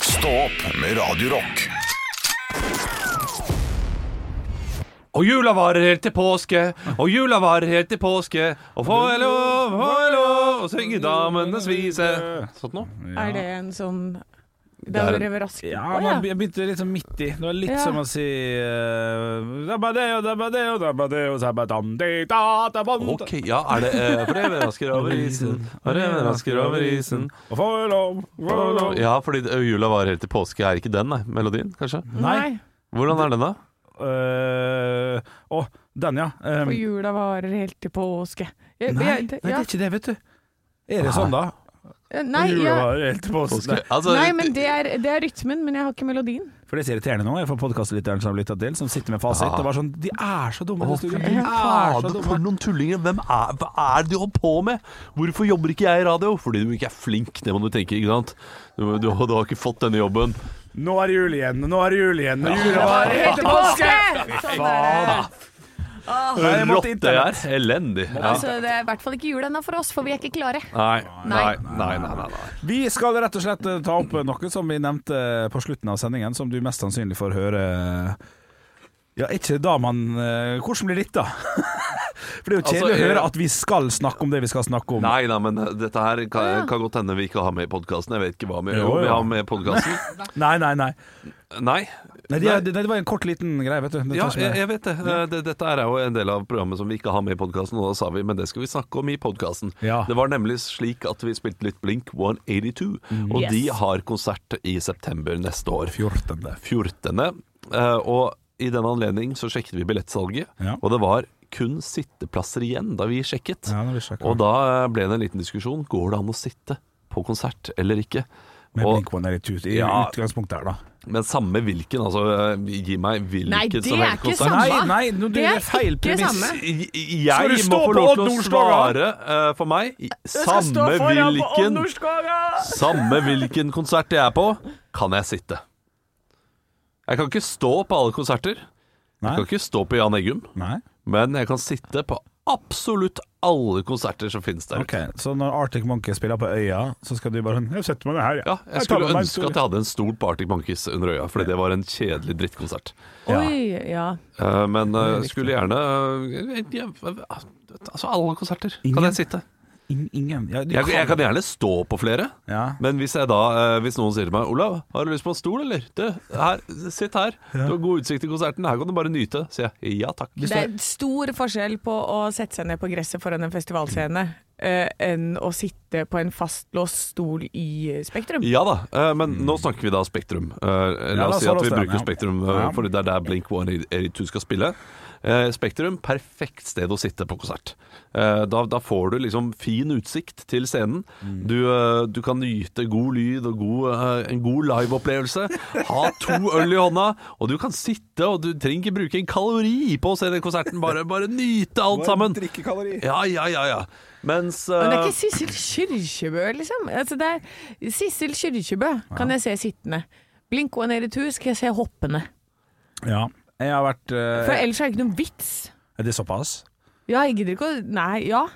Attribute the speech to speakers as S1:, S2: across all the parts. S1: Stå opp med Radio Rock.
S2: Og jula varer helt til påske, og jula varer helt til påske. Og får jeg lov, får jeg lov å synge damenes vise. Sånn nå?
S3: Er det en sånn Det
S2: er
S3: har
S2: en-
S3: vært rask
S4: Ja,
S3: Å,
S4: man be- jeg begynte liksom midt i. Det var litt
S3: Ja.
S4: som å si eh, dabadeo, dabadeo, dabadeo, sabadandi, da, daband.
S2: Ok, ja, er det eh, For det er raskere over isen, for det er raskere over isen.
S4: Og får lov, får lov.
S2: Ja, fordi eh, jula varer helt til påske er ikke den, nei. Melodien, kanskje?
S4: Nei.
S2: Hvordan er den, da?
S4: Eh, Å, den, ja. Eh,
S3: For jula varer helt til påske. Jeg-
S4: nei,
S3: jeg-
S4: nei, det
S3: ja. Eh,
S4: er ikke det, vet du. Er det sånn, da?
S3: nei,
S4: Jula
S3: ja.
S4: var helt på oss.
S2: Påske?
S4: Nei,
S2: Altså,
S3: nei, men det er, det er rytmen, men jeg har ikke melodien.
S4: For det er så irriterende nå, jeg får podkastlytteren som har lytta til, som sitter med fasit
S2: Ja.
S4: og var sånn De er så dumme,
S2: Å,
S4: de
S2: fy
S4: studiene. De er så
S2: fader, for
S4: dumme.
S2: noen tullinger! Hvem er, hva er det du holder på med? Hvorfor jobber ikke jeg i radio? Fordi du ikke er flink, det må du tenke, ikke sant? Du, du, du har ikke fått denne jobben.
S4: Nå er det jul igjen, nå er det jul igjen, og jula var helt til påske!
S3: Sånn er det.
S4: Nei, Altså, jeg måtte
S2: Rotte
S4: internett.
S2: er elendig. Ja.
S5: Altså, det er i hvert fall ikke jul ennå for oss, for vi er ikke klare.
S2: Nei, nei, nei, nei, nei, nei.
S4: Vi skal rett og slett eh, ta opp eh, noe som vi nevnte eh, på slutten av sendingen, som du mest sannsynlig får høre eh, Ja, er ikke da man eh, Hvordan blir dette? For det er jo kjedelig
S2: Altså,
S4: å
S2: eh,
S4: høre at vi skal snakke om det vi skal snakke om.
S2: Nei, nei, men eh, dette her kan, kan godt hende vi ikke har med i podkasten. Jeg vet ikke hva vi
S4: Jo,
S2: jo, vi
S4: ja.
S2: har med i podkasten.
S4: nei, nei. nei.
S2: Nei.
S4: nei, det, er- det var en kort, liten greie, vet du. Det
S2: Ja,
S4: tar ikke
S2: jeg,
S4: mer.
S2: jeg vet det. Eh, det. Dette er jo en del av programmet som vi ikke har med i podkasten, og da sa vi men det skal vi snakke om i podkasten.
S4: Ja.
S2: Det var nemlig slik at vi spilte litt Blink 182, og
S3: Yes.
S2: de har konsert i september neste år.
S4: 14.
S2: 14. Eh, og i den anledning så sjekket vi billettsalget,
S4: Ja.
S2: og det var kun sitteplasser igjen da vi sjekket.
S4: Ja, da vi sjekket.
S2: og da eh, ble det en liten diskusjon. Går det an å sitte på konsert eller ikke?
S4: Med
S2: og,
S4: Blink 182 i
S2: Ja.
S4: utgangspunktet her, da.
S2: men samme hvilken, altså. eh, Gi meg hvilken
S5: Nei, det
S2: som
S5: er
S2: helst
S5: ikke
S2: konsert.
S5: samme.
S4: Nei, nei, nå- du
S5: Det er
S4: gjør feil
S5: ikke
S4: premiss.
S5: samme.
S2: Jeg,
S4: Skal du
S2: jeg må
S4: stå
S2: få
S4: på
S2: lov til
S4: Odd
S2: å
S4: Nordstoga?
S2: svare eh, for meg. I- Samme hvilken, samme hvilken konsert jeg er på, kan jeg sitte. Jeg kan ikke stå på alle konserter.
S4: Nei.
S2: Jeg kan ikke stå på Jan Eggum,
S4: Nei.
S2: men jeg kan sitte på absolutt alle konserter som finnes der
S4: Ok,
S2: ute.
S4: Så når Arctic Monkey spiller på Øya, så skal du bare sånn Jeg setter meg ned her,
S2: Ja, jeg
S4: tar
S2: skulle
S4: med meg en
S2: ønske
S4: stor-
S2: at jeg hadde en stol på Arctic Monkeys under øya, fordi det var en kjedelig drittkonsert.
S4: Ja.
S3: Oi, ja.
S2: Eh, Men eh, skulle gjerne eh, jeg- Altså, alle konserter kan jeg sitte.
S4: In, ingen. Ja, du
S2: Jeg, jeg kan gjerne stå på flere,
S4: Ja.
S2: men hvis, jeg da, eh, hvis noen sier til meg 'Olav, har du lyst på en stol, eller?' Du, her, 'Sitt her, du har god utsikt til konserten, her kan du bare nyte', sier jeg. Ja takk.
S3: Det er stor forskjell på å sette seg ned på gresset foran en festivalscene eh, enn å sitte på en fastlåst stol i Spektrum.
S2: Ja da, eh, men nå snakker vi da Spektrum. Eh,
S4: Ja,
S2: La
S4: la
S2: oss
S4: oss
S2: si at
S4: holde
S2: vi
S4: oss til den,
S2: bruker
S4: ja.
S2: Spektrum,
S4: Ja.
S2: for det er der Blink 182 skal spille. Eh, Spektrum, perfekt sted å sitte på konsert. Eh, Da, da får du liksom fin utsikt til scenen.
S4: Mm.
S2: Du, eh, du kan nyte god lyd og god, eh, en god liveopplevelse. Ha to øl i hånda, og du kan sitte, og du trenger ikke bruke en kalori på å se den konserten. Bare, bare nyte alt sammen. Ja, ja, ja. ja. Mens
S3: Men det er
S2: eh,
S3: ikke Sissel Kyrkjebø, liksom. Altså, det er Sissel Kyrkjebø kan jeg se sittende. Blink 182 skal jeg se hoppende.
S4: ja. Jeg har vært eh,
S3: For ellers er det ikke noen vits.
S4: Er det såpass?
S3: Ja, jeg gidder ikke å Nei, ja.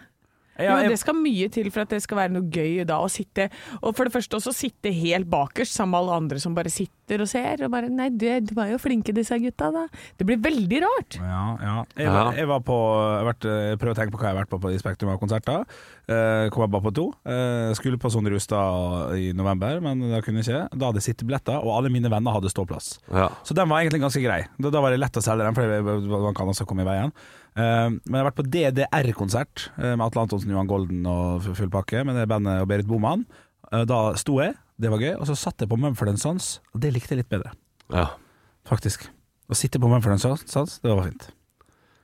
S4: Jeg,
S3: Jo,
S4: jeg,
S3: det skal mye til for at det skal være noe gøy da å sitte Og for det første også sitte helt bakerst sammen med alle andre som bare sitter og ser. Og bare Nei, du, du var jo flinke disse gutta, da. Det blir veldig rart.
S4: ja, ja. Jeg,
S2: Ja.
S4: var- jeg var på jeg har vært, eh, Prøv å tenke på hva jeg har vært på, på i Spektrum av konserter. Eh, kom jeg bare på to. Eh, skulle på Sondre Justad i november, men da kunne jeg ikke. Da hadde jeg sittebilletter, og alle mine venner hadde ståplass.
S2: ja.
S4: Så den var egentlig ganske grei. Da, da var det lett å selge den, for det- man kan også komme i veien. Eh, men jeg har vært på DDR-konsert eh, med Atle Antonsen, Johan Golden og f- full pakke, med det bandet og Berit Boman. Eh, da sto jeg, det var gøy, og så satt jeg på Mumford Sons, og det likte jeg litt bedre,
S2: ja.
S4: faktisk. Å sitte på Mumford Sons, det var fint.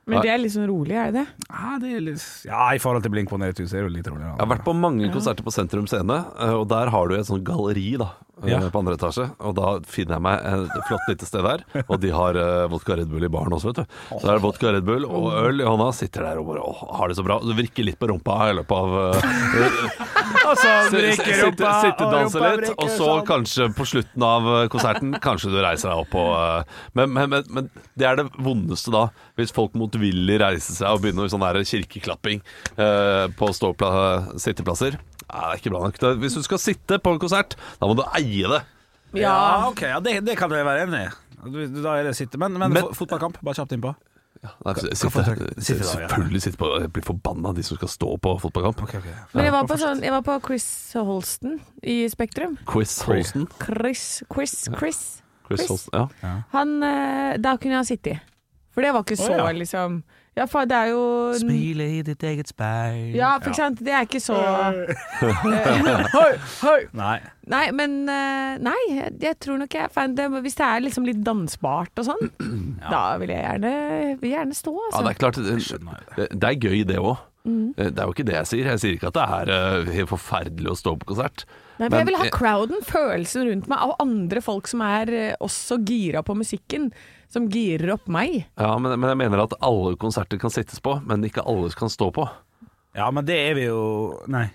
S3: Men det er litt sånn rolig, er det det?
S4: Ja, Ah, det er litt, ja i forhold til Blink 182 så er det jo litt roligere.
S2: Jeg har vært på mange konserter på Sentrum Scene, eh, og der har du et sånt galleri da, eh,
S4: Ja.
S2: på andre etasje. Og da finner jeg meg et flott lite sted der, og de har eh, vodka Red Bull i baren også, vet du. Så der er det vodka Red Bull og øl i hånda, sitter der og bare åh, har det så bra. Du virker litt på rumpa i løpet av eh,
S4: Altså,
S2: sitte, sitte, sitte danse litt, ah, og sånn. så
S4: sånn.
S2: kanskje på slutten av eh, konserten, kanskje du reiser deg opp og eh, men, men, men, men det er det vondeste da, hvis folk motvillig reiser seg og begynner sånn der kirkeklapping eh, på ståpla- sitteplasser. Nei, det er ikke bra nok. Da- Hvis du skal sitte på en konsert, da må du eie det.
S3: Ja.
S4: ok, ja, det, det kan jeg være enig i. Du- du- Da er det sitte. Men, men,
S2: Men-
S4: fo- fotballkamp, bare kjapt innpå.
S2: Nei, sitte,
S4: foretrekker- sitte da, ja.
S2: selvfølgelig sitte på Jeg blir forbanna, de som skal stå på fotballkamp.
S4: Okay, okay.
S3: Men jeg var på, sånn, jeg var på Chris Holsten i Spektrum.
S2: Chris Holsten.
S3: Chris, Chris, Chris.
S2: Chris
S3: Chris.
S2: Holsten ja.
S3: Han eh, Da kunne jeg sitte i. For det var ikke
S4: Å,
S3: så,
S4: ja.
S3: liksom Ja, for det er jo
S4: Smile i ditt eget speil
S3: Ja, for ikke sant. Det er ikke så Hoi, hoi.
S4: Nei.
S3: Nei, men eh, Nei, jeg- jeg tror nok jeg fan, det, Hvis det er liksom litt dansbart og sånn, da vil jeg gjerne, vil gjerne stå,
S2: Ja,
S3: altså.
S2: det er klart Det, det, det er gøy, det òg. Det er jo ikke det jeg sier. Jeg sier ikke at det er eh, helt forferdelig å stå på konsert.
S3: Nei, for jeg vil ha crowden, følelsen rundt meg, av andre folk som er eh, også gira på musikken. Som girer opp meg.
S2: ja, men, men jeg mener at alle konserter kan sittes på, men ikke alle kan stå på.
S4: Ja, men det er vi jo Nei.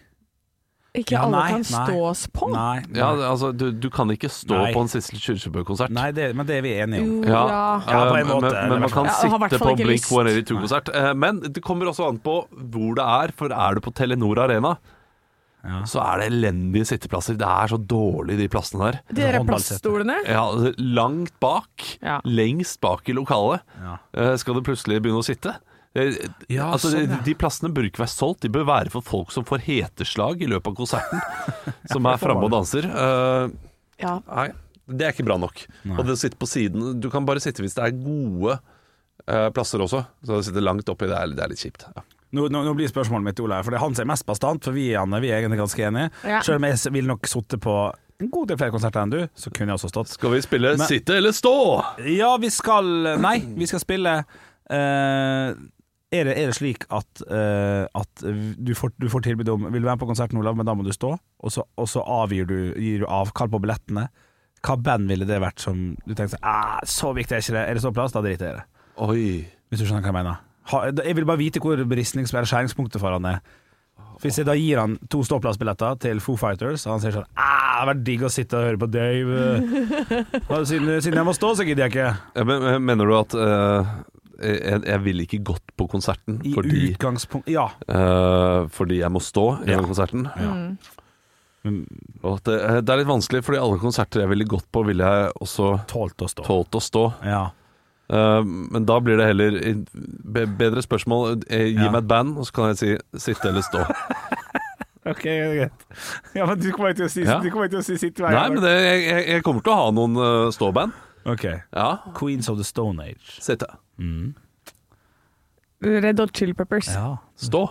S3: Ikke
S4: Ja,
S3: alle
S4: nei,
S3: kan
S4: nei.
S3: stås på.
S4: Nei,
S2: Ja,
S4: nei.
S2: altså, du, du kan ikke stå
S4: Nei.
S2: på en Sissel Kyrkjebø-konsert.
S4: nei det, men det er vi enige om.
S3: Jo,
S2: Ja,
S3: ja.
S4: Ja, på en
S2: eh,
S4: måte,
S2: men,
S4: eller
S2: men man
S4: hvertfall.
S2: kan
S3: Ja, og har
S2: sitte
S3: hvertfall
S2: på
S3: ikke
S2: Blink
S3: lyst.
S2: 182-konsert. Eh, Men det kommer også an på hvor det er, for er du på Telenor Arena,
S4: Ja.
S2: så er det elendige sitteplasser. Det er så dårlig, de plassene der.
S3: De der
S4: Håndballsete.
S3: plaststolene.
S2: Ja, altså, langt bak,
S3: Ja.
S2: lengst bak i lokalet,
S4: Ja.
S2: eh, skal du plutselig begynne å sitte. Eh,
S4: Ja,
S2: altså,
S4: sånn,
S2: de,
S4: ja.
S2: de plassene bør ikke være solgt, de bør være for folk som får heteslag i løpet av konserten. som er framme og danser. Eh,
S3: Ja.
S2: Nei, det er ikke bra nok. Og det å sitte på siden Du kan bare sitte hvis det er gode eh, plasser også. Så å sitte langt oppi, det er, det er litt kjipt. Ja.
S4: Nå, nå, nå blir spørsmålet mitt Olaug, for det er han som er mest bastant, for vi, Janne, vi er egentlig ganske enige.
S3: Ja.
S4: Selv om jeg s- ville nok sittet på en god del flere konserter enn du, så kunne jeg også stått.
S2: Skal vi spille
S4: Men-
S2: 'Sitte eller stå'?
S4: Ja, vi skal Nei, vi skal spille eh, er, det, er det slik at, eh, at du, får, du får tilbud om Vil du være med på konserten, Olav, men da må du stå, og så, og så avgir du, gir du avkall på billettene. Hva band ville det vært som du tenkte sånn, «Ah, Så viktig er ikke det. Er det såpass, da driter jeg i det.
S2: Oi.
S4: Hvis du skjønner hva jeg mener. Ha, da- jeg vil bare vite hvor bristnings- eller skjæringspunktet for han er. For Hvis jeg da gir han to ståplassbilletter til Foo Fighters, og han sier sånn «Ah, Det hadde vært digg å sitte og høre på Dave. eh, Og siden, siden jeg må stå, så gidder jeg ikke.
S2: Ja, Men, men mener du at eh, jeg, jeg ville ikke gått på konserten
S4: I
S2: fordi,
S4: utgangspunkt Ja.
S2: eh, fordi jeg må stå
S4: Ja.
S2: gjennom konserten?
S4: Ja.
S2: Og at det, eh, det er litt vanskelig, fordi alle konserter jeg ville gått på, ville jeg også
S4: Tålt å stå.
S2: tålt å stå.
S4: Ja.
S2: Eh, men da blir det heller be- bedre spørsmål. eh, Gi
S4: Ja.
S2: meg et band, og så kan jeg si 'sitte eller stå'.
S4: Ok, greit. Ja, men du kommer ikke til å si,
S2: Ja.
S4: du kommer ikke til å si sitt vei.
S2: Nei, men det, jeg, jeg- jeg kommer til å ha noen eh, ståband.
S4: Ok.
S2: Ja,
S4: Queens of the Stone Age.
S2: sitte.
S3: Red Hot Chili Peppers. Ja.
S4: Ja.
S2: Stå.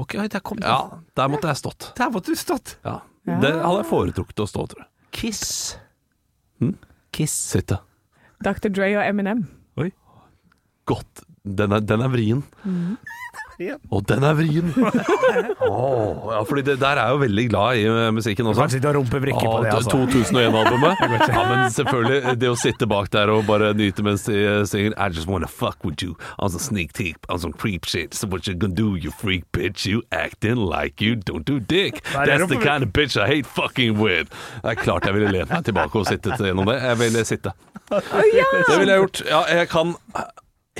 S4: Ok, oi, der kom det.
S2: Ja, der måtte jeg stått.
S4: Der måtte du stått.
S2: Ja.
S3: Ja.
S2: Det hadde jeg foretrukket å stå, tror jeg.
S4: Kiss.
S2: Kiss. Sitte.
S3: Dr. Dre og Eminem.
S2: Godt. Den er, den er vrien. Og den er vrien! Åh, ja, fordi det der er jeg jo veldig glad i eh, musikken
S4: Du kan
S2: også.
S4: sitte og rumpebrikke på
S2: Åh,
S4: det, altså.
S2: 2001-albumet. Ja, men selvfølgelig, det å sitte bak der og bare nyte mens de eh, synger I just wanna fuck with you. I'm some sneak thief, I'm some creep shit. So what you gonna do, you freak bitch? You acting like you don't do dick.
S4: Nei, det er
S2: That's the
S4: rumpe-
S2: kind of bitch I hate fucking with. Det er klart jeg ville lent meg tilbake og sittet gjennom det. Jeg ville sitte. Det ville jeg gjort. Ja, jeg kan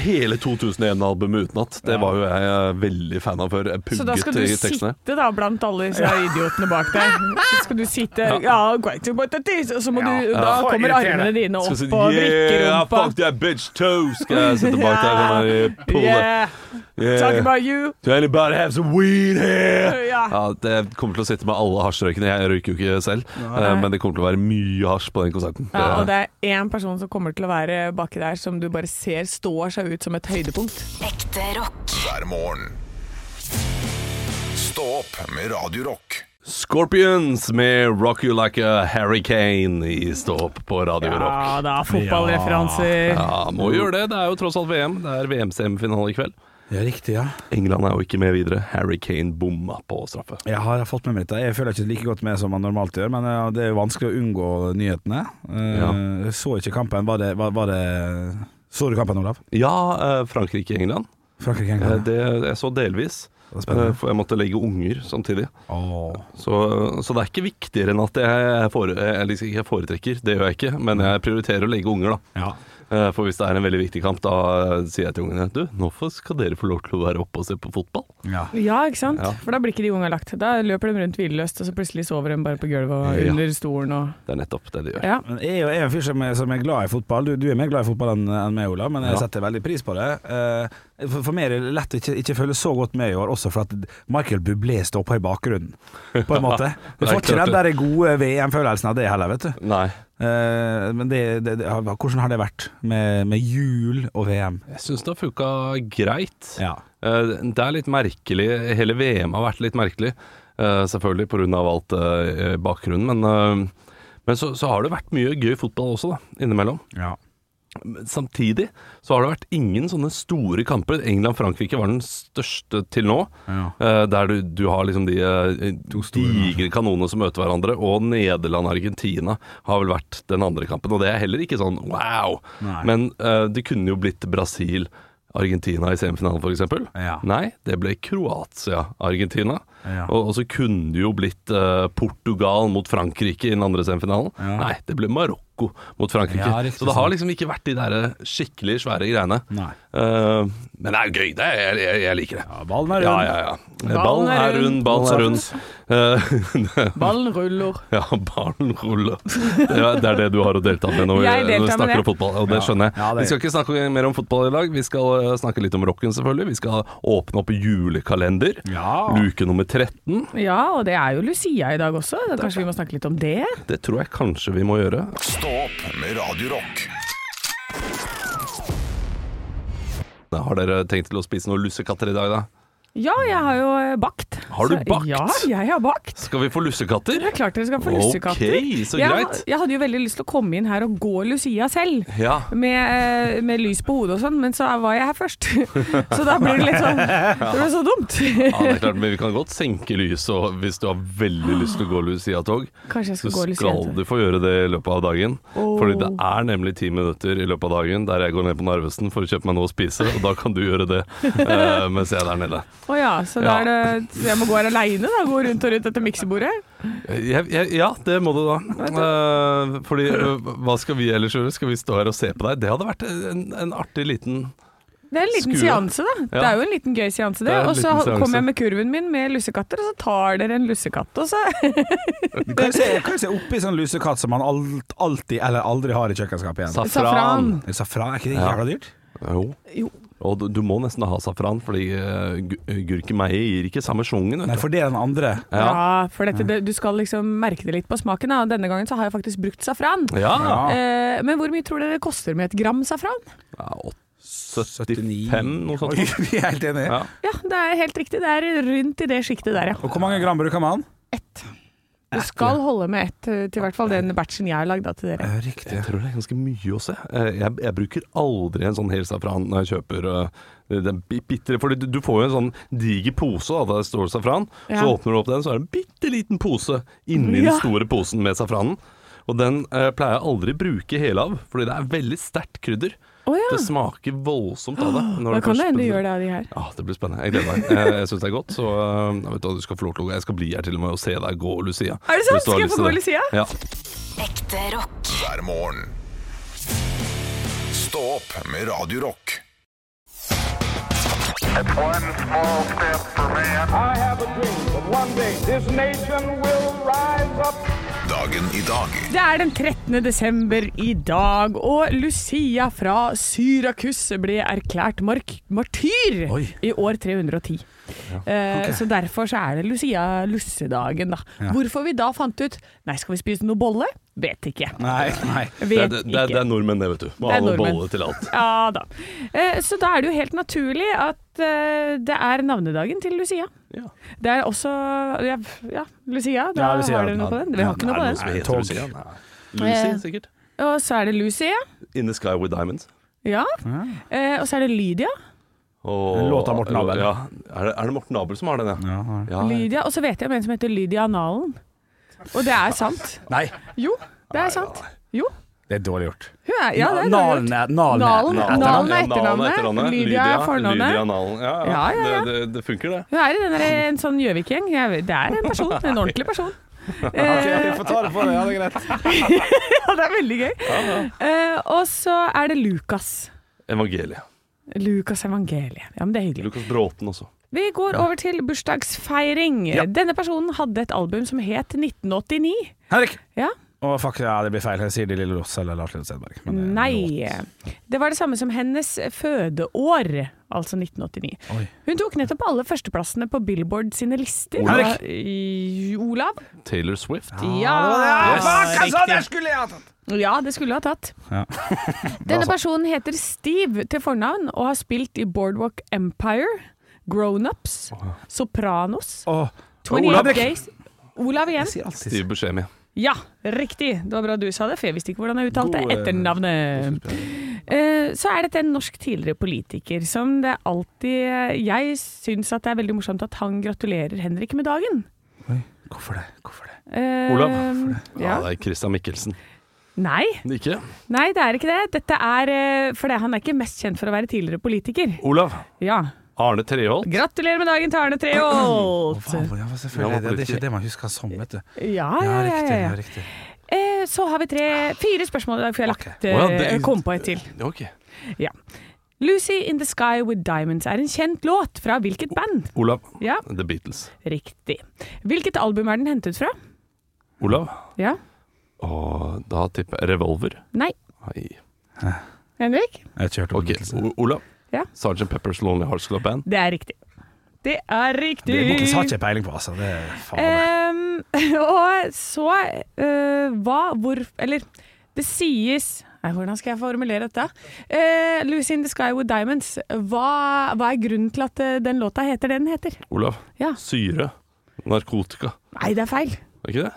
S2: hele 2001-albumet utenat. Det var jo jeg eh, veldig fan av før. Jeg
S3: Så da skal
S2: pugget
S3: du
S2: i tekstene.
S3: sitte da blant alle disse idiotene bak deg. Så skal du sitte ja, great about that is, og så må du, da
S4: For
S3: kommer
S4: irriterende.
S3: armene dine opp
S2: Skal si,
S3: og
S2: yeah,
S3: vrikker
S2: I
S3: rumpa.
S2: fucked that bitch too. Skal jeg sitte bak der sånn her, eh, pull it.
S3: Yeah, talk
S2: Yeah.
S3: about you.
S2: Do anybody have some weed here?
S3: Ja.
S2: Ja, det kommer til å sitte med alle hasjrøykene. Jeg røyker jo ikke selv, eh, men det kommer til å være mye hasj på den konserten.
S3: Ja, og det er én person som kommer til å være baki der som du bare ser står seg ut som et høydepunkt.
S5: Ekte rock.
S1: hver morgen. Stå opp med Radio Rock.
S2: Scorpions med Rock You Like a Hurricane i Stå opp på Radio Rock.
S3: Ja da, fotballreferanser.
S2: Ja, må jo gjøre det. Det er jo tross alt VM. Det er VM-semifinale i kveld.
S4: Ja, riktig, ja.
S2: England er jo ikke med videre. Hurricane bomma på straffe.
S4: Jeg har fått med meg dette. Jeg føler ikke like godt med som man normalt gjør, men eh, det er jo vanskelig å unngå nyhetene. Eh,
S2: Ja.
S4: Jeg så ikke kampen. Var det, var, var det Så du kampen, Olav?
S2: Ja, eh, Frankrike-England.
S4: Frankrike
S2: Eh,
S4: England.
S2: Det jeg så delvis.
S4: Det var
S2: Eh,
S4: spennende.
S2: For jeg måtte legge unger samtidig.
S4: Åh.
S2: Så, så det er ikke viktigere enn at jeg, fore, jeg, liksom ikke foretrekker, det gjør jeg ikke, men jeg prioriterer å legge unger, da.
S4: Ja.
S2: Eh, For hvis det er en veldig viktig kamp, da eh, sier jeg til ungene Du, nå får- skal dere få lov til å være oppe og se på fotball.
S4: Ja.
S3: Ja, ikke sant?
S2: Ja.
S3: For da blir ikke de unga lagt. Da løper de rundt hvilløst, og så plutselig sover de bare på gulvet og
S2: Ja.
S3: under stolen og
S2: Det er nettopp det de gjør.
S3: Ja.
S4: Men jeg er jo jeg er en fyr som er, som er glad i fotball. Du, du er mer glad i fotball enn enn meg, Olav, men jeg
S2: Ja.
S4: setter veldig pris på det. Eh, For, for meg er det lett å ikke, ikke følge så godt med i år, også for at Michael Bublé står på i bakgrunnen, på en måte. Du får ikke den der gode VM-følelsen av det heller, vet du.
S2: Nei.
S4: Eh, Men det, det, det, hvordan har det vært med, med jul og VM?
S2: Jeg syns det har funka greit.
S4: Ja.
S2: Eh, Det er litt merkelig. Hele VM har vært litt merkelig, eh, selvfølgelig pga. alt eh, bakgrunnen. Men, eh, men så, så har det vært mye gøy fotball også, da, innimellom.
S4: ja.
S2: Men Samtidig så har det vært ingen sånne store kamper. England-Frankrike var den største til nå.
S4: ja.
S2: eh, Der du, du har liksom de eh, digre kanonene som møter hverandre. Og Nederland-Argentina har vel vært den andre kampen. Og det er heller ikke sånn wow.
S4: Nei.
S2: Men eh, det kunne jo blitt Brasil-Argentina i semifinalen, f.eks.
S4: Ja.
S2: Nei, det ble Kroatia-Argentina.
S4: Ja.
S2: Og, og så kunne det jo blitt eh, Portugal mot Frankrike i den andre semifinalen.
S4: Ja.
S2: Nei, det ble Marokko mot Frankrike.
S4: Ja, riktig
S2: så det har
S4: sant.
S2: liksom ikke vært de der skikkelig svære greiene.
S4: Nei.
S2: Eh, men det er jo gøy. Det er, jeg, jeg, jeg liker det.
S4: Ja, ballen er
S2: Ja,
S4: rund.
S2: ja, ja. Ballen er rund, ballen er rund. Eh,
S3: Ballen ruller.
S2: ja, ballen ruller. Det er, det er det du har å delta med når vi,
S3: Jeg
S2: når
S3: deltar
S2: vi
S3: med
S2: snakker
S3: det.
S2: om fotball, og det skjønner jeg.
S4: Ja, det-
S2: Vi skal ikke snakke mer om fotball i dag. Vi skal eh, snakke litt om rocken, selvfølgelig. Vi skal åpne opp julekalender.
S4: Ja.
S2: Luke nummer 13.
S3: Ja, og det er jo Lucia i dag også. Da Kanskje vi må snakke litt om det?
S2: Det tror jeg kanskje vi må gjøre.
S1: Stå opp med Radio Rock.
S2: Har dere tenkt til å spise noen lussekatter i dag, da?
S3: Ja, jeg har jo eh, bakt.
S2: Har du
S3: Så-
S2: bakt?
S3: Ja, jeg har bakt.
S2: Skal vi få lussekatter?
S3: Det er klart dere skal få lussekatter.
S2: Ok, så greit.
S3: Jeg, jeg hadde jo veldig lyst til å komme inn her og gå Lucia selv.
S2: Ja.
S3: Med, eh, med lys på hodet og sånn, men så var jeg her først. Så da blir det litt sånn Det ble så dumt.
S2: ja, det er klart, men vi kan godt senke lyset og- hvis du har veldig lyst til å gå Lucia-tog.
S3: Kanskje jeg
S2: Så
S3: skal gå Lucia.
S2: skal du få gjøre det i løpet av dagen. Fordi det er nemlig ti minutter i løpet av dagen der jeg går ned på Narvesen for å kjøpe meg noe å spise, og da kan du gjøre det eh, mens jeg er der nede.
S3: Å ja, så da er det så Jeg må gå her aleine, da? Gå rundt og rundt etter miksebordet?
S2: Jeg, jeg, ja, det må du da. Eh, fordi eh, hva skal vi ellers gjøre? Skal vi stå her og se på deg? Det hadde vært en, en artig liten
S3: Det er en liten
S2: Skue.
S3: seanse, da. Det
S2: Ja.
S3: er jo en liten gøy seanse, det.
S2: Det er en
S3: Og så
S2: liten seanse.
S3: kommer jeg med kurven min med lussekatter, og så tar dere en lussekatt, og så
S4: Kan jeg se, kan jeg se oppi sånn lusekatt som man alt, alltid eller aldri har i kjøkkenskapet igjen?
S2: safran.
S4: Safran, er ikke det
S2: Ja.
S4: jævla dyrt?
S2: Jo. Og du, du må nesten ha safran, fordi eh, gu- gurkemeie gir ikke samme sjungen.
S4: Nei,
S2: Vet du.
S4: for det er den andre.
S3: Ja,
S2: Ja.
S3: for dette, det, du skal liksom merke det litt på smaken, da. Og denne gangen så har jeg faktisk brukt safran.
S2: Ja.
S4: Ja.
S3: Eh, men hvor mye tror dere det koster med et gram safran?
S2: ja. åt- 75, noe sånt.
S4: Oi, vi er helt enige.
S2: Ja.
S3: Ja, det er helt riktig. Det er rundt i det sjiktet der, ja.
S4: Og hvor mange gram bruker man?
S3: Ett. Du skal holde med ett, eh, til hvert fall den batchen jeg har lagd da, til dere.
S2: Eh,
S4: Riktig.
S2: Jeg tror det er ganske mye å se. Eh, Jeg, jeg bruker aldri en sånn hel safran når jeg kjøper eh, den bi- bitre For du, du får jo en sånn diger pose da, der det står safran. Så
S3: Ja.
S2: åpner du opp den, så er det en bitte liten pose inni
S3: Ja.
S2: den store posen med safranen. Og den eh, pleier jeg aldri bruke hele av, fordi det er veldig sterkt krydder.
S3: Å ja.
S2: Det smaker voldsomt av det. når
S3: Da kan det
S2: først-
S3: hende du gjør det av de her.
S2: Ja, det blir spennende. Jeg gleder meg. Eh, Jeg syns det er godt. Så eh, jeg vet, hva, du skal få lov til å gå. Jeg skal bli her til og med og se deg gå, Lucia.
S3: Er det
S2: Hvis du
S3: sant?
S2: har
S3: Skal jeg
S2: lyst til
S3: få gå,
S2: det.
S3: Lucia?
S2: Ja.
S5: Ekte rock.
S1: hver morgen. Stå opp med Radio Rock.
S6: One small step for man.
S7: I have a dream that one day this nation will rise up.
S1: Dagen i dag
S3: Det er den 13. desember i dag, og Lucia fra Syrakus ble erklært mark martyr
S4: Oi.
S3: i år 310. Eh, Så derfor så er det Lucia Lussedagen, da. Hvorfor vi da fant ut Nei, skal vi spise noe bolle? Vet ikke.
S4: Nei, nei.
S2: Det, er-
S3: Vet
S2: det,
S3: ikke.
S2: er- det er nordmenn, det, vet du. Må
S3: Det
S2: ha
S3: er
S2: noe
S3: nordmenn.
S2: bolle til alt.
S3: Ja da. Eh, Så da er det jo helt naturlig at eh, det er navnedagen til Lucia.
S2: Ja.
S3: Det er også Ja, ja Lucia. Da
S4: Ja, Lucia.
S3: har dere noe på den? Vi har ikke noe på den.
S4: Nei,
S2: heter
S4: tog.
S2: Lucia? Nei. Lucy, sikkert.
S3: Og så er det Lucia.
S2: In the Sky with Diamonds.
S3: Ja. Eh, Og så er det Lydia.
S2: Og-
S4: Låt av Morten Abel.
S2: Ja. Er, det, er det Morten Abel som har den, ja?
S4: Ja.
S2: Ja.
S3: Lydia, og så vet jeg om en som heter Lydia Nalen. Og det er sant.
S4: Nei,
S3: Jo, det er sant. Jo.
S4: det er dårlig gjort.
S3: Hun er, ja, det er
S4: Nalen
S3: rart.
S4: er- Nalen er-
S3: Nalen-
S4: Nalen-
S3: Nalen er
S2: Ja,
S3: etternavnet, Lydia er fornavnet.
S2: Lydia Nalen. Ja, ja.
S3: Ja, ja,
S2: Det,
S3: ja.
S2: det, det funker, det.
S3: Hun er i den der, en sånn Gjøvik-gjeng. Jeg vet- Det er en person, en ordentlig person.
S4: Ok, vi får ta det for deg. Ja, det er greit.
S3: Ja, det er veldig gøy. Eh, og så er det Lukas.
S2: Evangeliet.
S3: Lukas evangeliet. Ja, men det er hyggelig.
S2: Lukas Bråten også.
S3: Vi går over til bursdagsfeiring. Denne personen hadde et album som het 1989.
S4: Henrik!
S3: Ja.
S4: Å, fuck, ja, det blir feil. Jeg sier de Lille Ross eller Lars Lille Sedberg. men eh, det er
S3: Nei.
S4: rått.
S3: Det var det samme som hennes fødeår, altså 1989.
S4: Oi.
S3: Hun tok nettopp alle førsteplassene på Billboard sine lister.
S4: Olav.
S3: Da- i- Olav.
S2: Taylor Swift.
S3: Ja.
S4: Fuck, altså, det skulle jeg ha tatt!
S3: ja, det skulle hun ha tatt.
S4: Ja.
S3: Denne personen heter Steve til fornavn og har spilt i Boardwalk Empire, Grownups, Sopranos,
S4: Åh,
S3: 28 Days Olav igjen.
S4: sier alltid sånn.
S2: Steve Buscemi.
S3: Ja, riktig. Det var bra du sa det, for jeg visste ikke hvordan jeg uttalte
S4: God, eh,
S3: etternavnet. Eh, Så er dette en norsk tidligere politiker som det alltid eh, Jeg syns at det er veldig morsomt at han gratulerer Henrik med dagen.
S4: Hvorfor det? Hvorfor det?
S3: Eh,
S2: Olav. Ja,
S3: Ja.
S2: det er Christian Mikkelsen.
S3: Nei,
S2: Ikke?
S3: nei, det er ikke det. Dette er eh, For det, han er ikke mest kjent for å være tidligere politiker.
S2: Olav.
S3: Ja.
S2: Arne Treholt.
S3: Gratulerer med dagen til Arne Treholt!
S4: Faen, ja, men selvfølgelig.
S2: Ja,
S4: Det, det er
S2: riktig.
S4: ikke det man husker som, vet du.
S3: Ja,
S4: Ja,
S3: ja, ja.
S4: riktig.
S3: ja,
S4: Ja,
S3: ja.
S4: riktig.
S3: Eh, Så har vi tre, fire spørsmål i dag, for jeg har lagt,
S2: Å, ja,
S3: eh,
S2: det-
S3: kom på et til.
S2: Ok.
S3: Lucy in the Sky with Diamonds er en kjent låt fra hvilket band?
S2: Olav.
S3: Ja,
S2: The Beatles.
S3: riktig. Hvilket album er den hentet fra?
S2: Olav.
S3: Ja.
S2: Og da tipper jeg Revolver.
S3: Nei.
S2: Nei.
S3: Henrik?
S4: Jeg har ikke hørt om
S2: Ok,
S4: Beatles.
S2: O- Olav.
S3: Ja.
S2: Sgt. Pepper's Lonely Hearts Club Band.
S3: Det er riktig. Det er
S4: Det
S3: riktig.
S4: Beatles har ikke jeg peiling på, altså. Det er faen.
S3: Ehm, og så eh, hva, hvor Eller det sies Nei, Hvordan skal jeg formulere dette? Eh, Lucy in the Sky with Diamonds. Hva, hva er grunnen til at eh, den låta heter det den heter?
S2: Olav.
S3: Ja.
S2: Syre. Narkotika.
S3: Nei, det er feil.
S2: Er ikke det?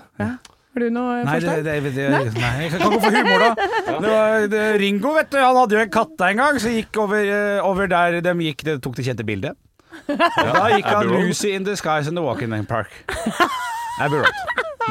S3: Har du noe
S4: Nei, det,
S3: forslag?
S4: det, det, nei, jeg kan gå for humor, da. Det var, det, Ringo vet du, han hadde jo en katt en gang, som gikk over, eh, over der de gikk, det tok det kjente bildet. Og da gikk han
S2: Abbey Road.
S4: Lucy in the Skies and the Walk in the Park. Abbey Road.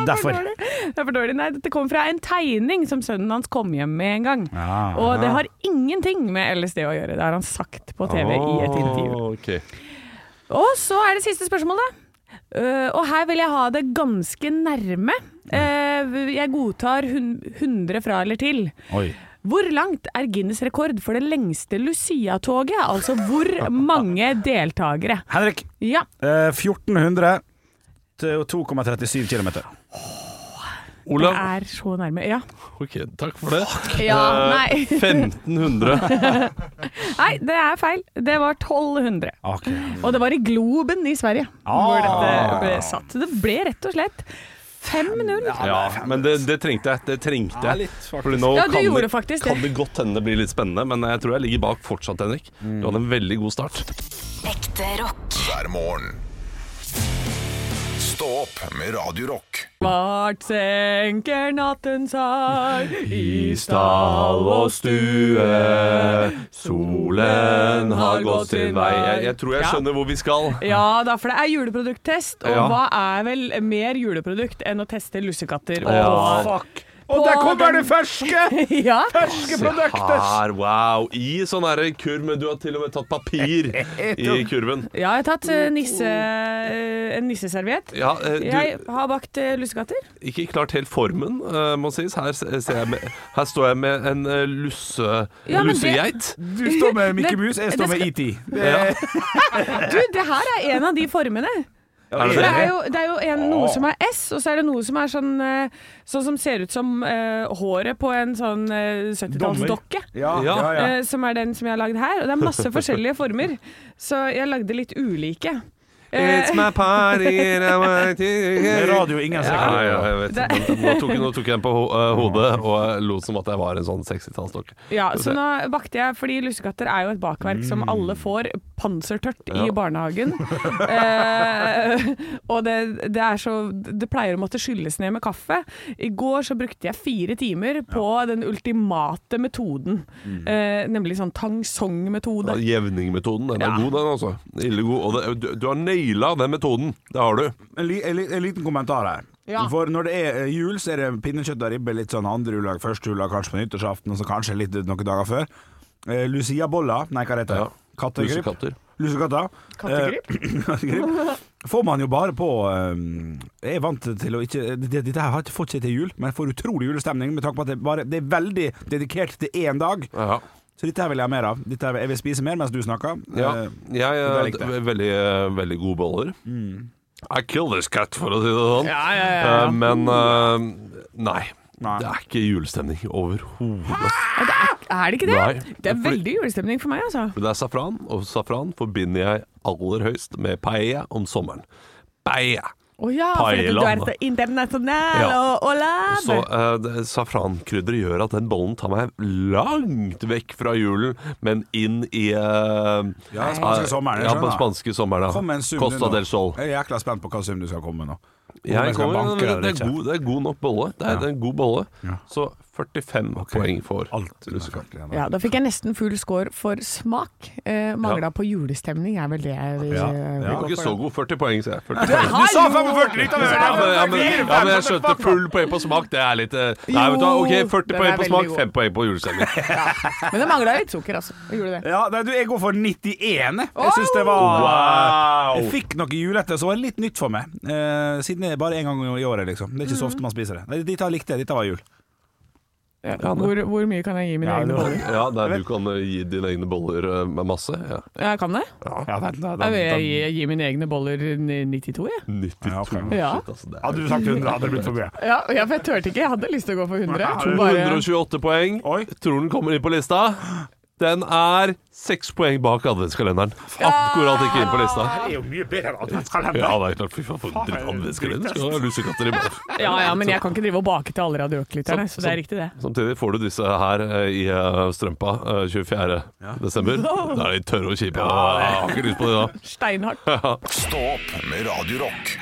S4: Derfor.
S3: Det er for dårlig. Nei, dette kom fra en tegning som sønnen hans kom hjem med en gang.
S4: Ja.
S3: Og det har ingenting med LSD å gjøre. Det har han sagt på TV i et intervju.
S2: Å, Ah, ok.
S3: Og så er det siste spørsmål, da. Eh, og her vil jeg ha det ganske nærme. Eh, jeg godtar hun- 100 fra eller til.
S4: Oi.
S3: Hvor langt er Guinness rekord for det lengste Lucia-toget? Altså hvor mange deltakere?
S4: Henrik.
S3: Ja,
S4: eh, 1400 til 2,37 km.
S3: det
S2: Olav.
S3: er så nærme. Ja.
S2: Ok, takk for det.
S5: Ja,
S2: Eh, 1500.
S3: Nei, det er feil. Det var 1200. Og det var i Globen i Sverige
S2: Ah.
S3: hvor dette ble satt. Det ble rett og slett 5-0.
S2: Ja, men det, det trengte jeg. Det trengte jeg. Fordi nå
S3: Ja, du
S2: kan,
S3: gjorde
S2: det,
S3: faktisk det.
S2: kan det godt hende det blir litt spennende, men jeg tror jeg ligger bak fortsatt, Henrik. Du hadde en veldig god start.
S5: Ekte rock.
S1: hver morgen. Stå opp med Radio Rock.
S3: Svart senker natten seg i solen har gått sin vei.
S2: Jeg, jeg tror jeg
S3: Ja.
S2: skjønner hvor vi skal.
S3: Ja da, for det er juleprodukttest, og
S2: Ja.
S3: hva er vel mer juleprodukt enn å teste lussekatter?
S2: Ja.
S3: Og, Og der kommer det
S4: ferske!
S3: ja.
S4: Ferske
S2: Her, wow. I sånn her kurv, men du har til og med tatt papir i kurven.
S3: ja, jeg har tatt eh, nisse, eh, en nisseserviett.
S2: Ja, eh,
S3: Jeg
S2: du,
S3: har bakt eh, lussekatter.
S2: ikke klart helt formen, eh, må sies. Her, s- ser jeg med, her står jeg med en eh, lusse,
S3: Ja, men det-
S2: lussegeit.
S4: Du står med Mikke
S3: Men-
S4: Mus, jeg står
S3: det
S4: med E ET.
S2: Ja.
S3: Du, det her er en av de formene.
S2: Er det
S3: For det er
S2: det?
S3: jo, det er jo en, noe som er S, og så er det noe som er sånn, eh, sånn som ser ut som eh, håret på en sånn eh, 70-tallsdokke.
S4: Ja, ja, ja.
S3: eh, som er den som jeg har lagd her. Og det er masse forskjellige former, så jeg lagde litt ulike. Eh,
S2: my party
S4: Med radio ingen ser
S2: Ja, ja,
S4: ja.
S2: jeg vet. Men Nå tok, nå tok jeg den på ho eh, hodet og jeg lot som at jeg var en sånn 60-tallsdokke.
S3: ja,
S2: Skal vi
S3: så
S2: se. Mm.
S3: nå bakte jeg, fordi lussekatter er jo et bakverk som alle får pansertørt
S2: Ja.
S3: i barnehagen. Eh, og det, det er så Det pleier å måtte skylles ned med kaffe. I går så brukte jeg fire timer på den ultimate metoden,
S2: Mm.
S3: eh, nemlig sånn tang song-metode.
S2: Ja, Jevningmetoden, den er
S3: Ja.
S2: god den altså. Ille god. Og det, du, du har naila den metoden, det har du.
S4: En, li, en, li, en liten kommentar her.
S3: Ja.
S4: For når det er eh, jul, så er det pinnekjøtt og ribbe litt sånn andre juledag, første juledag, kanskje på nyttårsaften, og så kanskje litt noen dager før. Eh, Lucia bolla, nei hva heter det?
S2: Ja.
S4: Kattegripp?
S2: Lussekatter.
S4: Lussekatter.
S3: Kattegripp?
S4: Eh, kattegripp. får man jo bare på eh, Jeg er vant til å ikke det- Dette her har jeg ikke fått seg til jul, men jeg får utrolig julestemning med tanke på at det, bare, det er veldig dedikert til én dag.
S2: Ja.
S4: Så dette her vil jeg ha mer av. Dette her, jeg vil spise mer mens du snakker.
S2: Ja,
S4: Eh,
S2: jeg
S4: det Mm.
S2: er
S4: likte jeg.
S2: veldig, eh, veldig gode boller. I kill this cat, for å si det sånn.
S3: Ja, ja, ja.
S2: Eh, Men eh, nei.
S4: Nei.
S2: Det er ikke julestemning overhodet.
S3: Er det ikke det?
S2: Nei.
S3: Det er veldig julestemning for meg, altså.
S2: Men Det er safran, og safran forbinder jeg aller høyst med paella om sommeren. Paella!
S3: Å ja, for at du er
S2: Paella.
S3: så internasjonal
S2: Ja.
S3: og, og lav.
S2: Så eh, det- safrankrydderet gjør at den bollen tar meg langt vekk fra julen, men inn i eh,
S4: Ja, spanske sommeren, jeg
S2: Ja, på
S4: skjønner.
S2: spanske sommeren,
S4: Kom med en
S2: ja.
S4: sum du
S2: Costa
S4: nå.
S2: del Sol.
S4: Jeg er jækla spent på hva sum du skal komme med nå. Om
S2: Jeg
S4: jeg skal
S2: kommer,
S4: banke
S2: det,
S4: eller
S2: det,
S4: ikke.
S2: er god, det er god nok bolle. Det er, det er en god bolle. Så 45 poeng for
S4: Alt under
S2: Russland.
S4: 40 igjen, da.
S3: Ja, da fikk jeg nesten full score for smak. Eh, Mangla på julestemning er vel det jeg vil
S4: Ja.
S3: eh,
S4: Ja.
S2: Det var
S3: gå
S2: ikke
S3: for.
S2: så god 40 poeng, sier jeg. 40
S3: Du
S2: poeng.
S3: har
S4: sa
S3: jo-
S4: 45 litt av det!
S2: Ja, men, ja, men,
S4: fire,
S2: ja, men jeg skjønte full poeng på smak. Det er litt eh, Nei, vet du hva.
S3: Jo,
S2: OK, 40
S3: den
S2: poeng
S3: er
S2: på
S3: veldig
S2: smak,
S3: god.
S2: 5 poeng på julestemning.
S3: Men det mangla litt sukker, altså. Det gjorde det.
S4: Ja, nei, du, jeg går for 91. jeg. Jeg syns det var Jeg fikk noe julete som var litt nytt for meg. Eh, siden det er bare én gang i året, liksom. Det er ikke så
S3: Mm.
S4: ofte man spiser det. Nei, Dette likte jeg. Dette var jul.
S2: det-
S3: Hvor, hvor mye kan jeg gi mine
S4: Ja,
S3: egne
S4: det var-
S3: boller?
S2: Ja, der du kan eh, gi dine egne boller eh, med masse. Ja.
S3: Jeg kan det?
S4: Ja, den, den,
S3: Jeg, vil- jeg, jeg gir mine egne boller n- 92, jeg.
S2: 92
S4: Ja, ok.
S3: Ja.
S2: shit, altså. Det er
S4: Hadde du sagt 100, hadde det blitt for mye.
S3: Ja, ja, for jeg turte ikke. Jeg hadde lyst til å gå for 100. Bare,
S2: 228 poeng.
S4: Oi.
S2: Tror den kommer inn på lista. Den er seks poeng bak adventskalenderen. Akkurat ikke inn på lista.
S4: Det er jo mye bedre enn adventskalender.
S2: Ja, det er klart. Fy faen, for en dritt adventskalender. Skal du ha lussekatter i morgen.
S3: ja, ja, men jeg kan ikke drive og bake til alle radioaklytterne, så det er riktig, det.
S2: Samtidig får du disse her eh, i eh, strømpa eh, 24. desember. Da er de tørre og kjipe. og Jeg har ikke lyst på det da.
S3: Steinhardt.
S1: Stå opp med Radio Rock.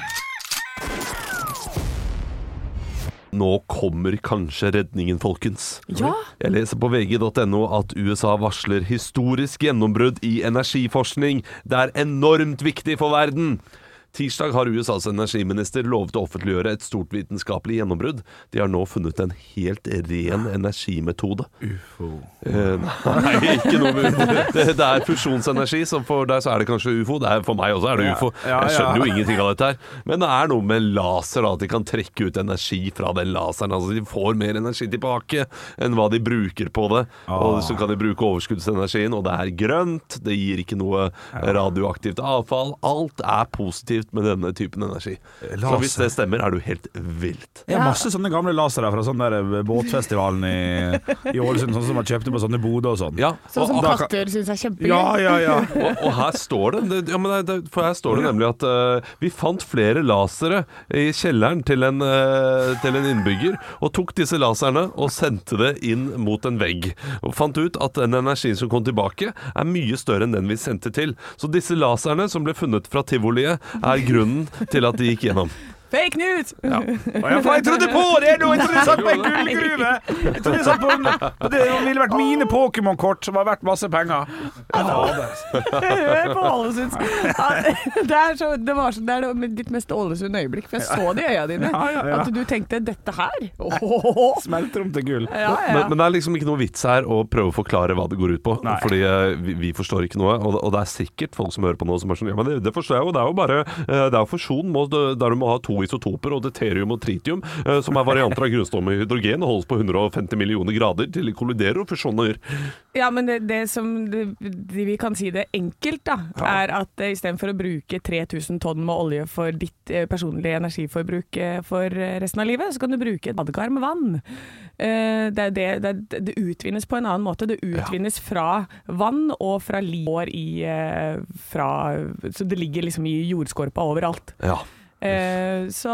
S2: Nå kommer kanskje redningen, folkens.
S3: Ja.
S2: Jeg leser på vg.no at USA varsler historisk gjennombrudd i energiforskning. Det er enormt viktig for verden! Tirsdag har USAs energiminister lovet å offentliggjøre et stort vitenskapelig gjennombrudd. De har nå funnet en helt ren energimetode. Eh, nei, ikke noe med ufo. Det, det er fusjonsenergi, så for deg så er det kanskje ufo. Det er, for meg også er det
S4: Ja.
S2: ufo.
S4: Ja,
S2: Jeg
S4: ja.
S2: skjønner jo ingenting av dette her. Men det er noe med laser, da, at de kan trekke ut energi fra den laseren. Altså de får mer energi tilbake enn hva de bruker på det. Og så kan de bruke overskuddsenergien, og det er grønt, det gir ikke noe radioaktivt avfall. Alt er positivt med denne typen energi. Så
S4: Laser.
S2: hvis det stemmer, er du helt vilt.
S4: Jeg har masse sånne gamle lasere fra sånn der båtfestivalen i, i Ålesund, sånn som man kjøpte på sånne boder og sånn.
S2: Ja,
S3: Sånn som
S2: og-
S3: katter syns er kjempegøy.
S4: ja, ja. ja.
S2: og, og her står det, det, ja, men det, det For her står det nemlig at eh, vi fant flere lasere i kjelleren til en, eh, til en innbygger, og tok disse laserne og sendte det inn mot en vegg. Og fant ut at den energien som kom tilbake, er mye større enn den vi sendte til. Så disse laserne som ble funnet fra tivoliet, er grunnen til at de gikk gjennom.
S3: Fake news!
S4: Å, ja, for jeg trodde på det nå! Jeg trodde jeg satt på en gullgruve! Jeg trodde jeg satt på en, på det ville vært mine Pokémon-kort, som var verdt masse penger.
S3: Hør på Ålesunds ja, det, er så, det, var så, det er det- ditt mest Ålesund øyeblikk, for jeg så det i øya dine.
S4: Ja, ja, ja.
S3: At du tenkte 'dette her'? Åhåhå.
S4: Smelter om til gull.
S3: Ja,
S2: Men,
S3: ja.
S2: men det er liksom ikke noe vits her å prøve å forklare hva det går ut på.
S4: Nei.
S2: Fordi eh, vi, vi forstår ikke noe. Og, og det er sikkert folk som hører på nå som er sånn Ja, men det, det forstår jeg jo. Det er jo bare eh, Det er jo fusjon må, der du må ha to isotoper og deuterium og tritium, eh, som er varianter av grunnstoff med hydrogen, og holdes på 150 millioner grader til de kolliderer og fusjoner.
S3: ja, men det, det som det, det vi kan si det enkelt, da, er at eh, istedenfor å bruke 3000 tonn med olje for ditt eh, personlige energiforbruk eh, for eh, resten av livet, så kan du bruke et badekar med vann. Eh, det, er det, det, er- det utvinnes på en annen måte. Det utvinnes fra vann og fra livår i eh, fra, Så det ligger liksom i jordskorpa overalt.
S2: Ja.
S3: Eh, så,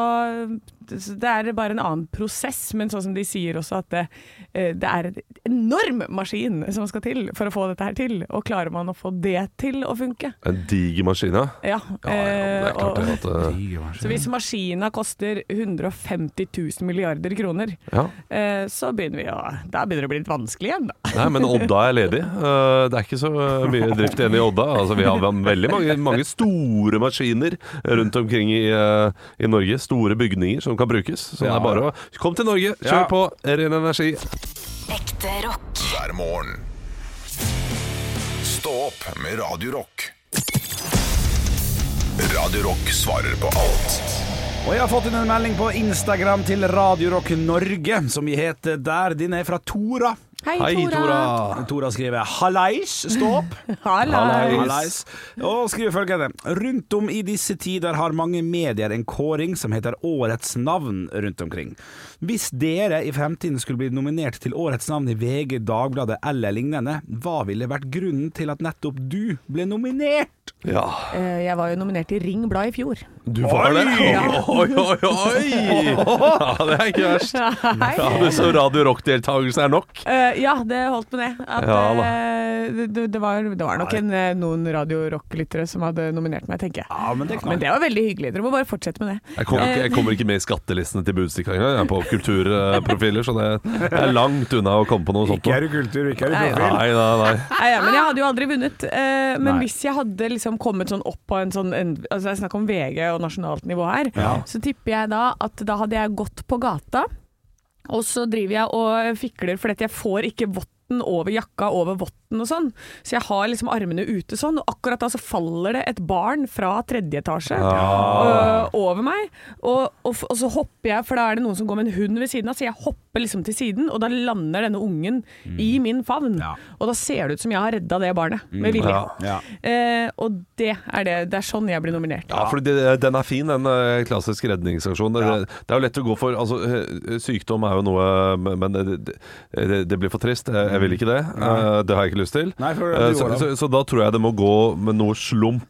S3: så det er bare en annen prosess, men sånn som de sier også at det, eh, det er en enorm maskin som skal til for å få dette her til. Og klarer man å få det til å funke?
S2: En diger maskin, ja.
S3: Ja.
S2: Ja, ja, det er klart det.
S3: eh, og,
S2: At, eh,
S3: så hvis maskina koster 150 000 milliarder kroner,
S2: ja.
S3: eh, så begynner vi å Da begynner det å bli litt vanskelig igjen, da.
S2: Nei, men Odda er ledig. Eh, Det er ikke så mye drift igjen i Odda. Altså, vi har veldig mange, mange store maskiner rundt omkring i, eh, i Norge. Store bygninger som kan brukes. Så det
S4: Ja.
S2: er bare å Kom til Norge, kjør
S4: Ja.
S2: på! Ren energi.
S5: Ekte rock.
S1: hver morgen. Stå opp med Radio Rock. Radio Rock svarer på alt.
S4: Og jeg har fått inn en melding på Instagram til Radio Rock Norge, som vi heter der. Den er fra Tora.
S3: Hei,
S2: Hei,
S3: Tora.
S2: Tora.
S4: Tora skriver 'Hallais, stå opp'.
S3: Hallais.
S4: Hallais. Og skriver følgende Rundt om i disse tider har mange medier en kåring som heter Årets navn rundt omkring. Hvis dere i fremtiden skulle bli nominert til Årets navn i VG, Dagbladet eller lignende, hva ville vært grunnen til at nettopp du ble nominert?
S2: Ja.
S3: Eh, Jeg var jo nominert til Ring Blad i fjor.
S2: Du var det? Oi, oi, oi! Ja, det er ikke verst.
S3: Hei.
S2: Ja, du, så Radio Rock-deltakelse er nok.
S3: Eh, ja, det holdt med det. At,
S2: Ja, da.
S3: eh, det- det, det, var, det var nok en, eh, noen Radio Rock-lyttere som hadde nominert meg, tenker jeg.
S4: Ja, men det er
S3: Men det var veldig hyggelig. Dere må bare fortsette med det.
S2: Jeg kommer, ikke, jeg kommer ikke med i skattelistene til Budstikka engang. Jeg er på kulturprofiler, så det jeg er langt unna å komme på noe sånt.
S4: Ikke
S2: nå.
S4: er du kultur, ikke er du
S3: Nei.
S4: profil.
S2: Nei, nei, nei.
S3: Nei, ja, men jeg hadde jo aldri vunnet. eh, men
S4: Nei.
S3: hvis jeg hadde liksom kommet sånn opp på en sånn en, altså Det er snakk om VG og nasjonalt nivå her. Så tipper jeg da at da hadde jeg gått på gata, og så driver jeg og fikler fordi at jeg får ikke votten over jakka over votten og sånn. Så jeg har liksom armene ute sånn, og akkurat da så faller det et barn fra tredje etasje øh, over meg. Og, og, f- og så hopper jeg, for da er det noen som går med en hund ved siden av, så jeg hopper liksom til siden, og da lander denne ungen i
S2: Mm.
S3: min favn.
S4: Ja.
S3: Og da ser det ut som jeg har redda det barnet, med vilje.
S2: Ja.
S4: Ja.
S3: Eh, og det er det. Det er sånn jeg blir nominert.
S2: Ja, for det- den er fin, den eh, klassisk redningsaksjonen. Det, det er jo lett å gå for altså, eh, Sykdom er jo noe Men men det, det, det blir for trist. Jeg jeg vil ikke det. Eh, Det har jeg ikke lyst til.
S4: Nei, for-
S2: Eh,
S4: du
S2: så,
S4: går da.
S2: så, så da tror jeg det må gå med noe slump.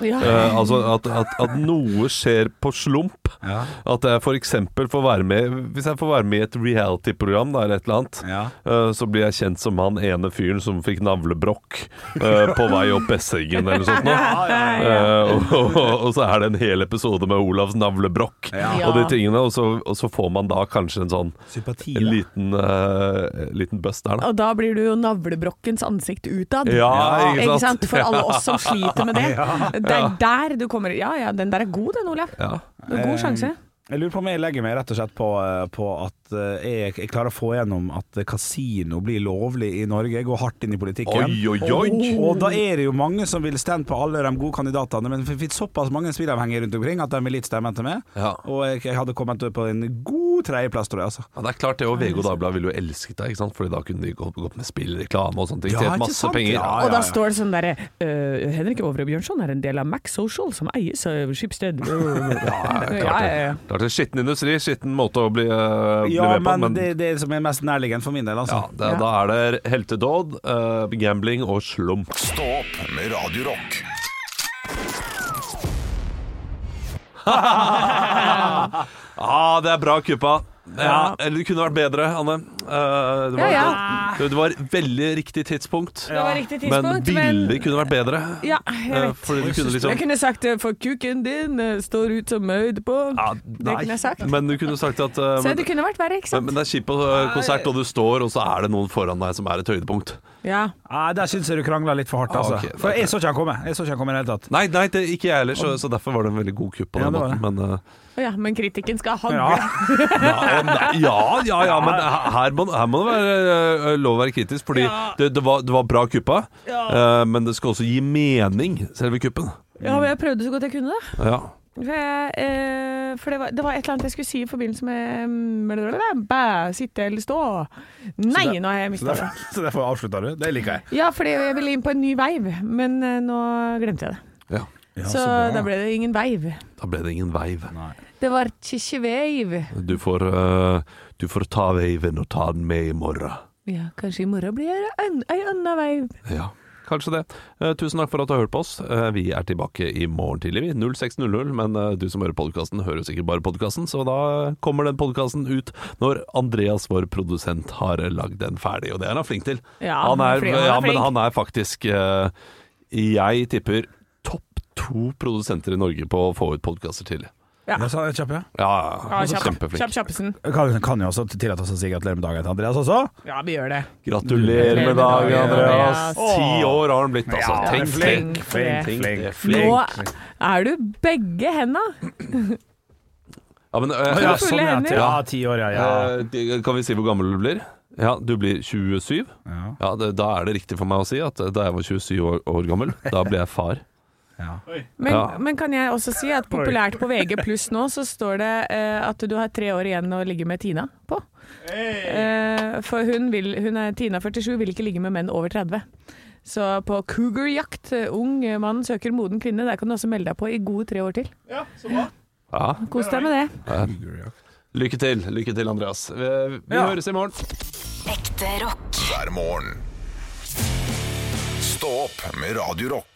S3: Ja.
S2: Eh, altså at, at, at noe skjer på slump.
S4: Ja.
S2: At jeg f.eks. får være med Hvis jeg får være med i et reality-program da, eller et eller annet,
S4: Ja.
S2: eh, så blir jeg kjent som han ene fyren som fikk navlebrokk eh, på vei opp Besseggen eller noe sånt. Nå. Eh, og, og, og så er det en hel episode med Olavs navlebrokk
S3: Ja.
S2: og de tingene. Og så, og så får man da kanskje en sånn
S4: Sympati,
S2: En
S4: da.
S2: liten, eh, liten bust der, da.
S3: Og da blir du jo navlebrokkens ansikt utad.
S2: Ja, ikke
S3: ikke
S2: sant?
S3: sant? For alle oss som sliter med det. Det er der du kommer Ja ja, den der er god den, Olav.
S2: Ja. Eh,
S3: Det er God sjanse.
S4: Jeg lurer på om jeg legger meg rett og slett på, eh, på at eh, jeg, jeg klarer å få gjennom at kasino blir lovlig i Norge. Jeg går hardt inn i politikken.
S2: Oi, oi, oi!
S4: Og da er det jo mange som vil stemme på alle de gode kandidatene, men det finnes såpass mange spillavhengige rundt omkring at de vil litt stemme etter meg.
S2: Ja.
S4: Og jeg, jeg hadde kommet opp på en god tredjeplass, tror jeg. Altså.
S2: Ja, det er klart det, og VG og Dagbladet ville jo elsket deg, ikke sant? Fordi da kunne de gått gått med spill, reklame og sånne ting.
S4: Ja,
S2: Tjent
S4: ikke
S2: masse
S4: sant?
S2: penger.
S4: Ja,
S3: Og da står det sånn derre øh, Henrik Over og Bjørnson er en del av Max Social, som eies av Schibsted.
S2: Ja, klart det.
S3: Ja, ja, ja.
S2: Klart det. Skitten industri, skitten måte å bli, eh, bli
S4: Ja,
S2: med på.
S4: men, det, det som er mest nærliggende for min del, altså.
S2: ja, det, da er det heltedåd, eh, gambling og slump.
S1: Stå opp med Radio Rock.
S2: Ah, det er bra kuppa. Ja, Eller det kunne vært bedre, Anne. Eh, det, var,
S3: Ja, ja.
S2: Det, det var veldig riktig tidspunkt.
S3: Det var riktig
S2: Men
S3: tidspunkt, men-
S2: bildet kunne vært bedre.
S3: Ja, jeg
S2: Eh,
S3: vet.
S2: fordi du kunne liksom
S3: Jeg kunne sagt det, for kuken din øh, står ut som møyd på.
S2: ja,
S3: Det kunne jeg sagt.
S2: Men du kunne sagt at eh,
S3: Så
S2: men-
S3: det kunne vært verre, ikke
S2: Men,
S3: sant?
S2: men det er kjipt på eh, konsert, og du står, og så er det noen foran deg som er et høydepunkt.
S3: Ja.
S4: Nei, der syns jeg du krangla litt for hardt,
S2: Ah,
S4: altså.
S2: ok,
S4: For
S2: ok.
S4: jeg så ikke han komme. Jeg så ikke han komme i det hele tatt.
S2: Nei, nei det, ikke jeg heller, så, så derfor var det en veldig god kupp på
S4: Ja,
S2: den
S4: det var
S2: måten. Men, eh,
S3: Å ja, men kritikken skal hagle.
S4: Ja.
S2: ja, nei, ja, ja, ja, men her her må, her må det være eh, lov å være kritisk, fordi det, det, var, det var bra kuppa, eh, men det skal også gi mening, selve kuppen.
S3: Ja, men jeg prøvde så godt jeg kunne, da.
S2: Ja.
S3: For, jeg, eh, for det, var, det var et eller annet jeg skulle si i forbindelse med mm, blablabla, bæ, sitte eller stå. Nei, nå har jeg
S4: Så
S3: mista det.
S4: derfor, så derfor avslutta du. Det liker jeg.
S3: Ja, fordi jeg ville inn på en ny veiv, men eh, nå glemte jeg det.
S2: ja.
S4: Ja,
S3: så
S4: bra.
S3: da ble det ingen veiv.
S2: Da ble det ingen veiv.
S3: Det var ikke veiv.
S2: Du får, eh, du får ta veiven og ta den med i morgen.
S3: Ja, kanskje i morgen blir det en- ei anna veiv.
S2: Ja, kanskje det. Eh, tusen takk for at du har hørt på oss. Eh, vi er tilbake i morgen tidlig, vi. 06.00. Men eh, du som hører podkasten, hører jo sikkert bare podkasten, så da kommer den podkasten ut når Andreas, vår produsent, har lagd den ferdig. Og det er han flink til.
S3: Ja,
S2: han er,
S3: fordi han er
S2: ja men
S3: flink.
S2: han er faktisk eh, Jeg tipper topp to produsenter i Norge på å få ut podkaster tidlig.
S4: Ja, så er jeg kjapp, ja.
S2: Ja, ja, ja.
S3: kjapp,
S2: Kjempeflink.
S3: kjapp kjappesen.
S4: Kan, kan jo også tillate oss å si gratulerer med dagen til Andreas også.
S3: Ja, vi gjør det.
S2: Gratulerer med dagen, Andreas.
S3: Andreas.
S2: Ti år har han blitt, altså.
S4: Ja,
S2: Tenk,
S4: flink,
S2: tenk.
S3: flink,
S2: tenk det.
S3: Nå er du begge henda.
S2: Ja, men, eh,
S4: Ja,
S3: fulle
S4: sånn, ja.
S3: hender.
S4: Ja, ti år, ja. ja.
S2: Eh, de- Kan vi si hvor gammel du blir? Ja, du blir 27.
S4: Ja.
S2: eh, Ja, det, Da er det riktig for meg å si at da jeg var 27 år, år gammel, da ble jeg far.
S4: Ja.
S3: Men,
S2: Ja.
S3: men kan jeg også si at populært på VG pluss nå, så står det eh, at du har tre år igjen å ligge med Tina på. Eh, for hun, vil, hun er Tina 47, vil ikke ligge med menn over 30. Så på cougarjakt, eh, ung mann søker moden kvinne, der kan du også melde deg på i gode tre år til.
S2: Ja.
S3: Kos deg med det.
S2: Lykke til, lykke til, Andreas. Vi, vi
S4: Ja.
S2: høres i morgen.
S5: Ekte rock.
S1: hver morgen. Stå opp med Radio Rock.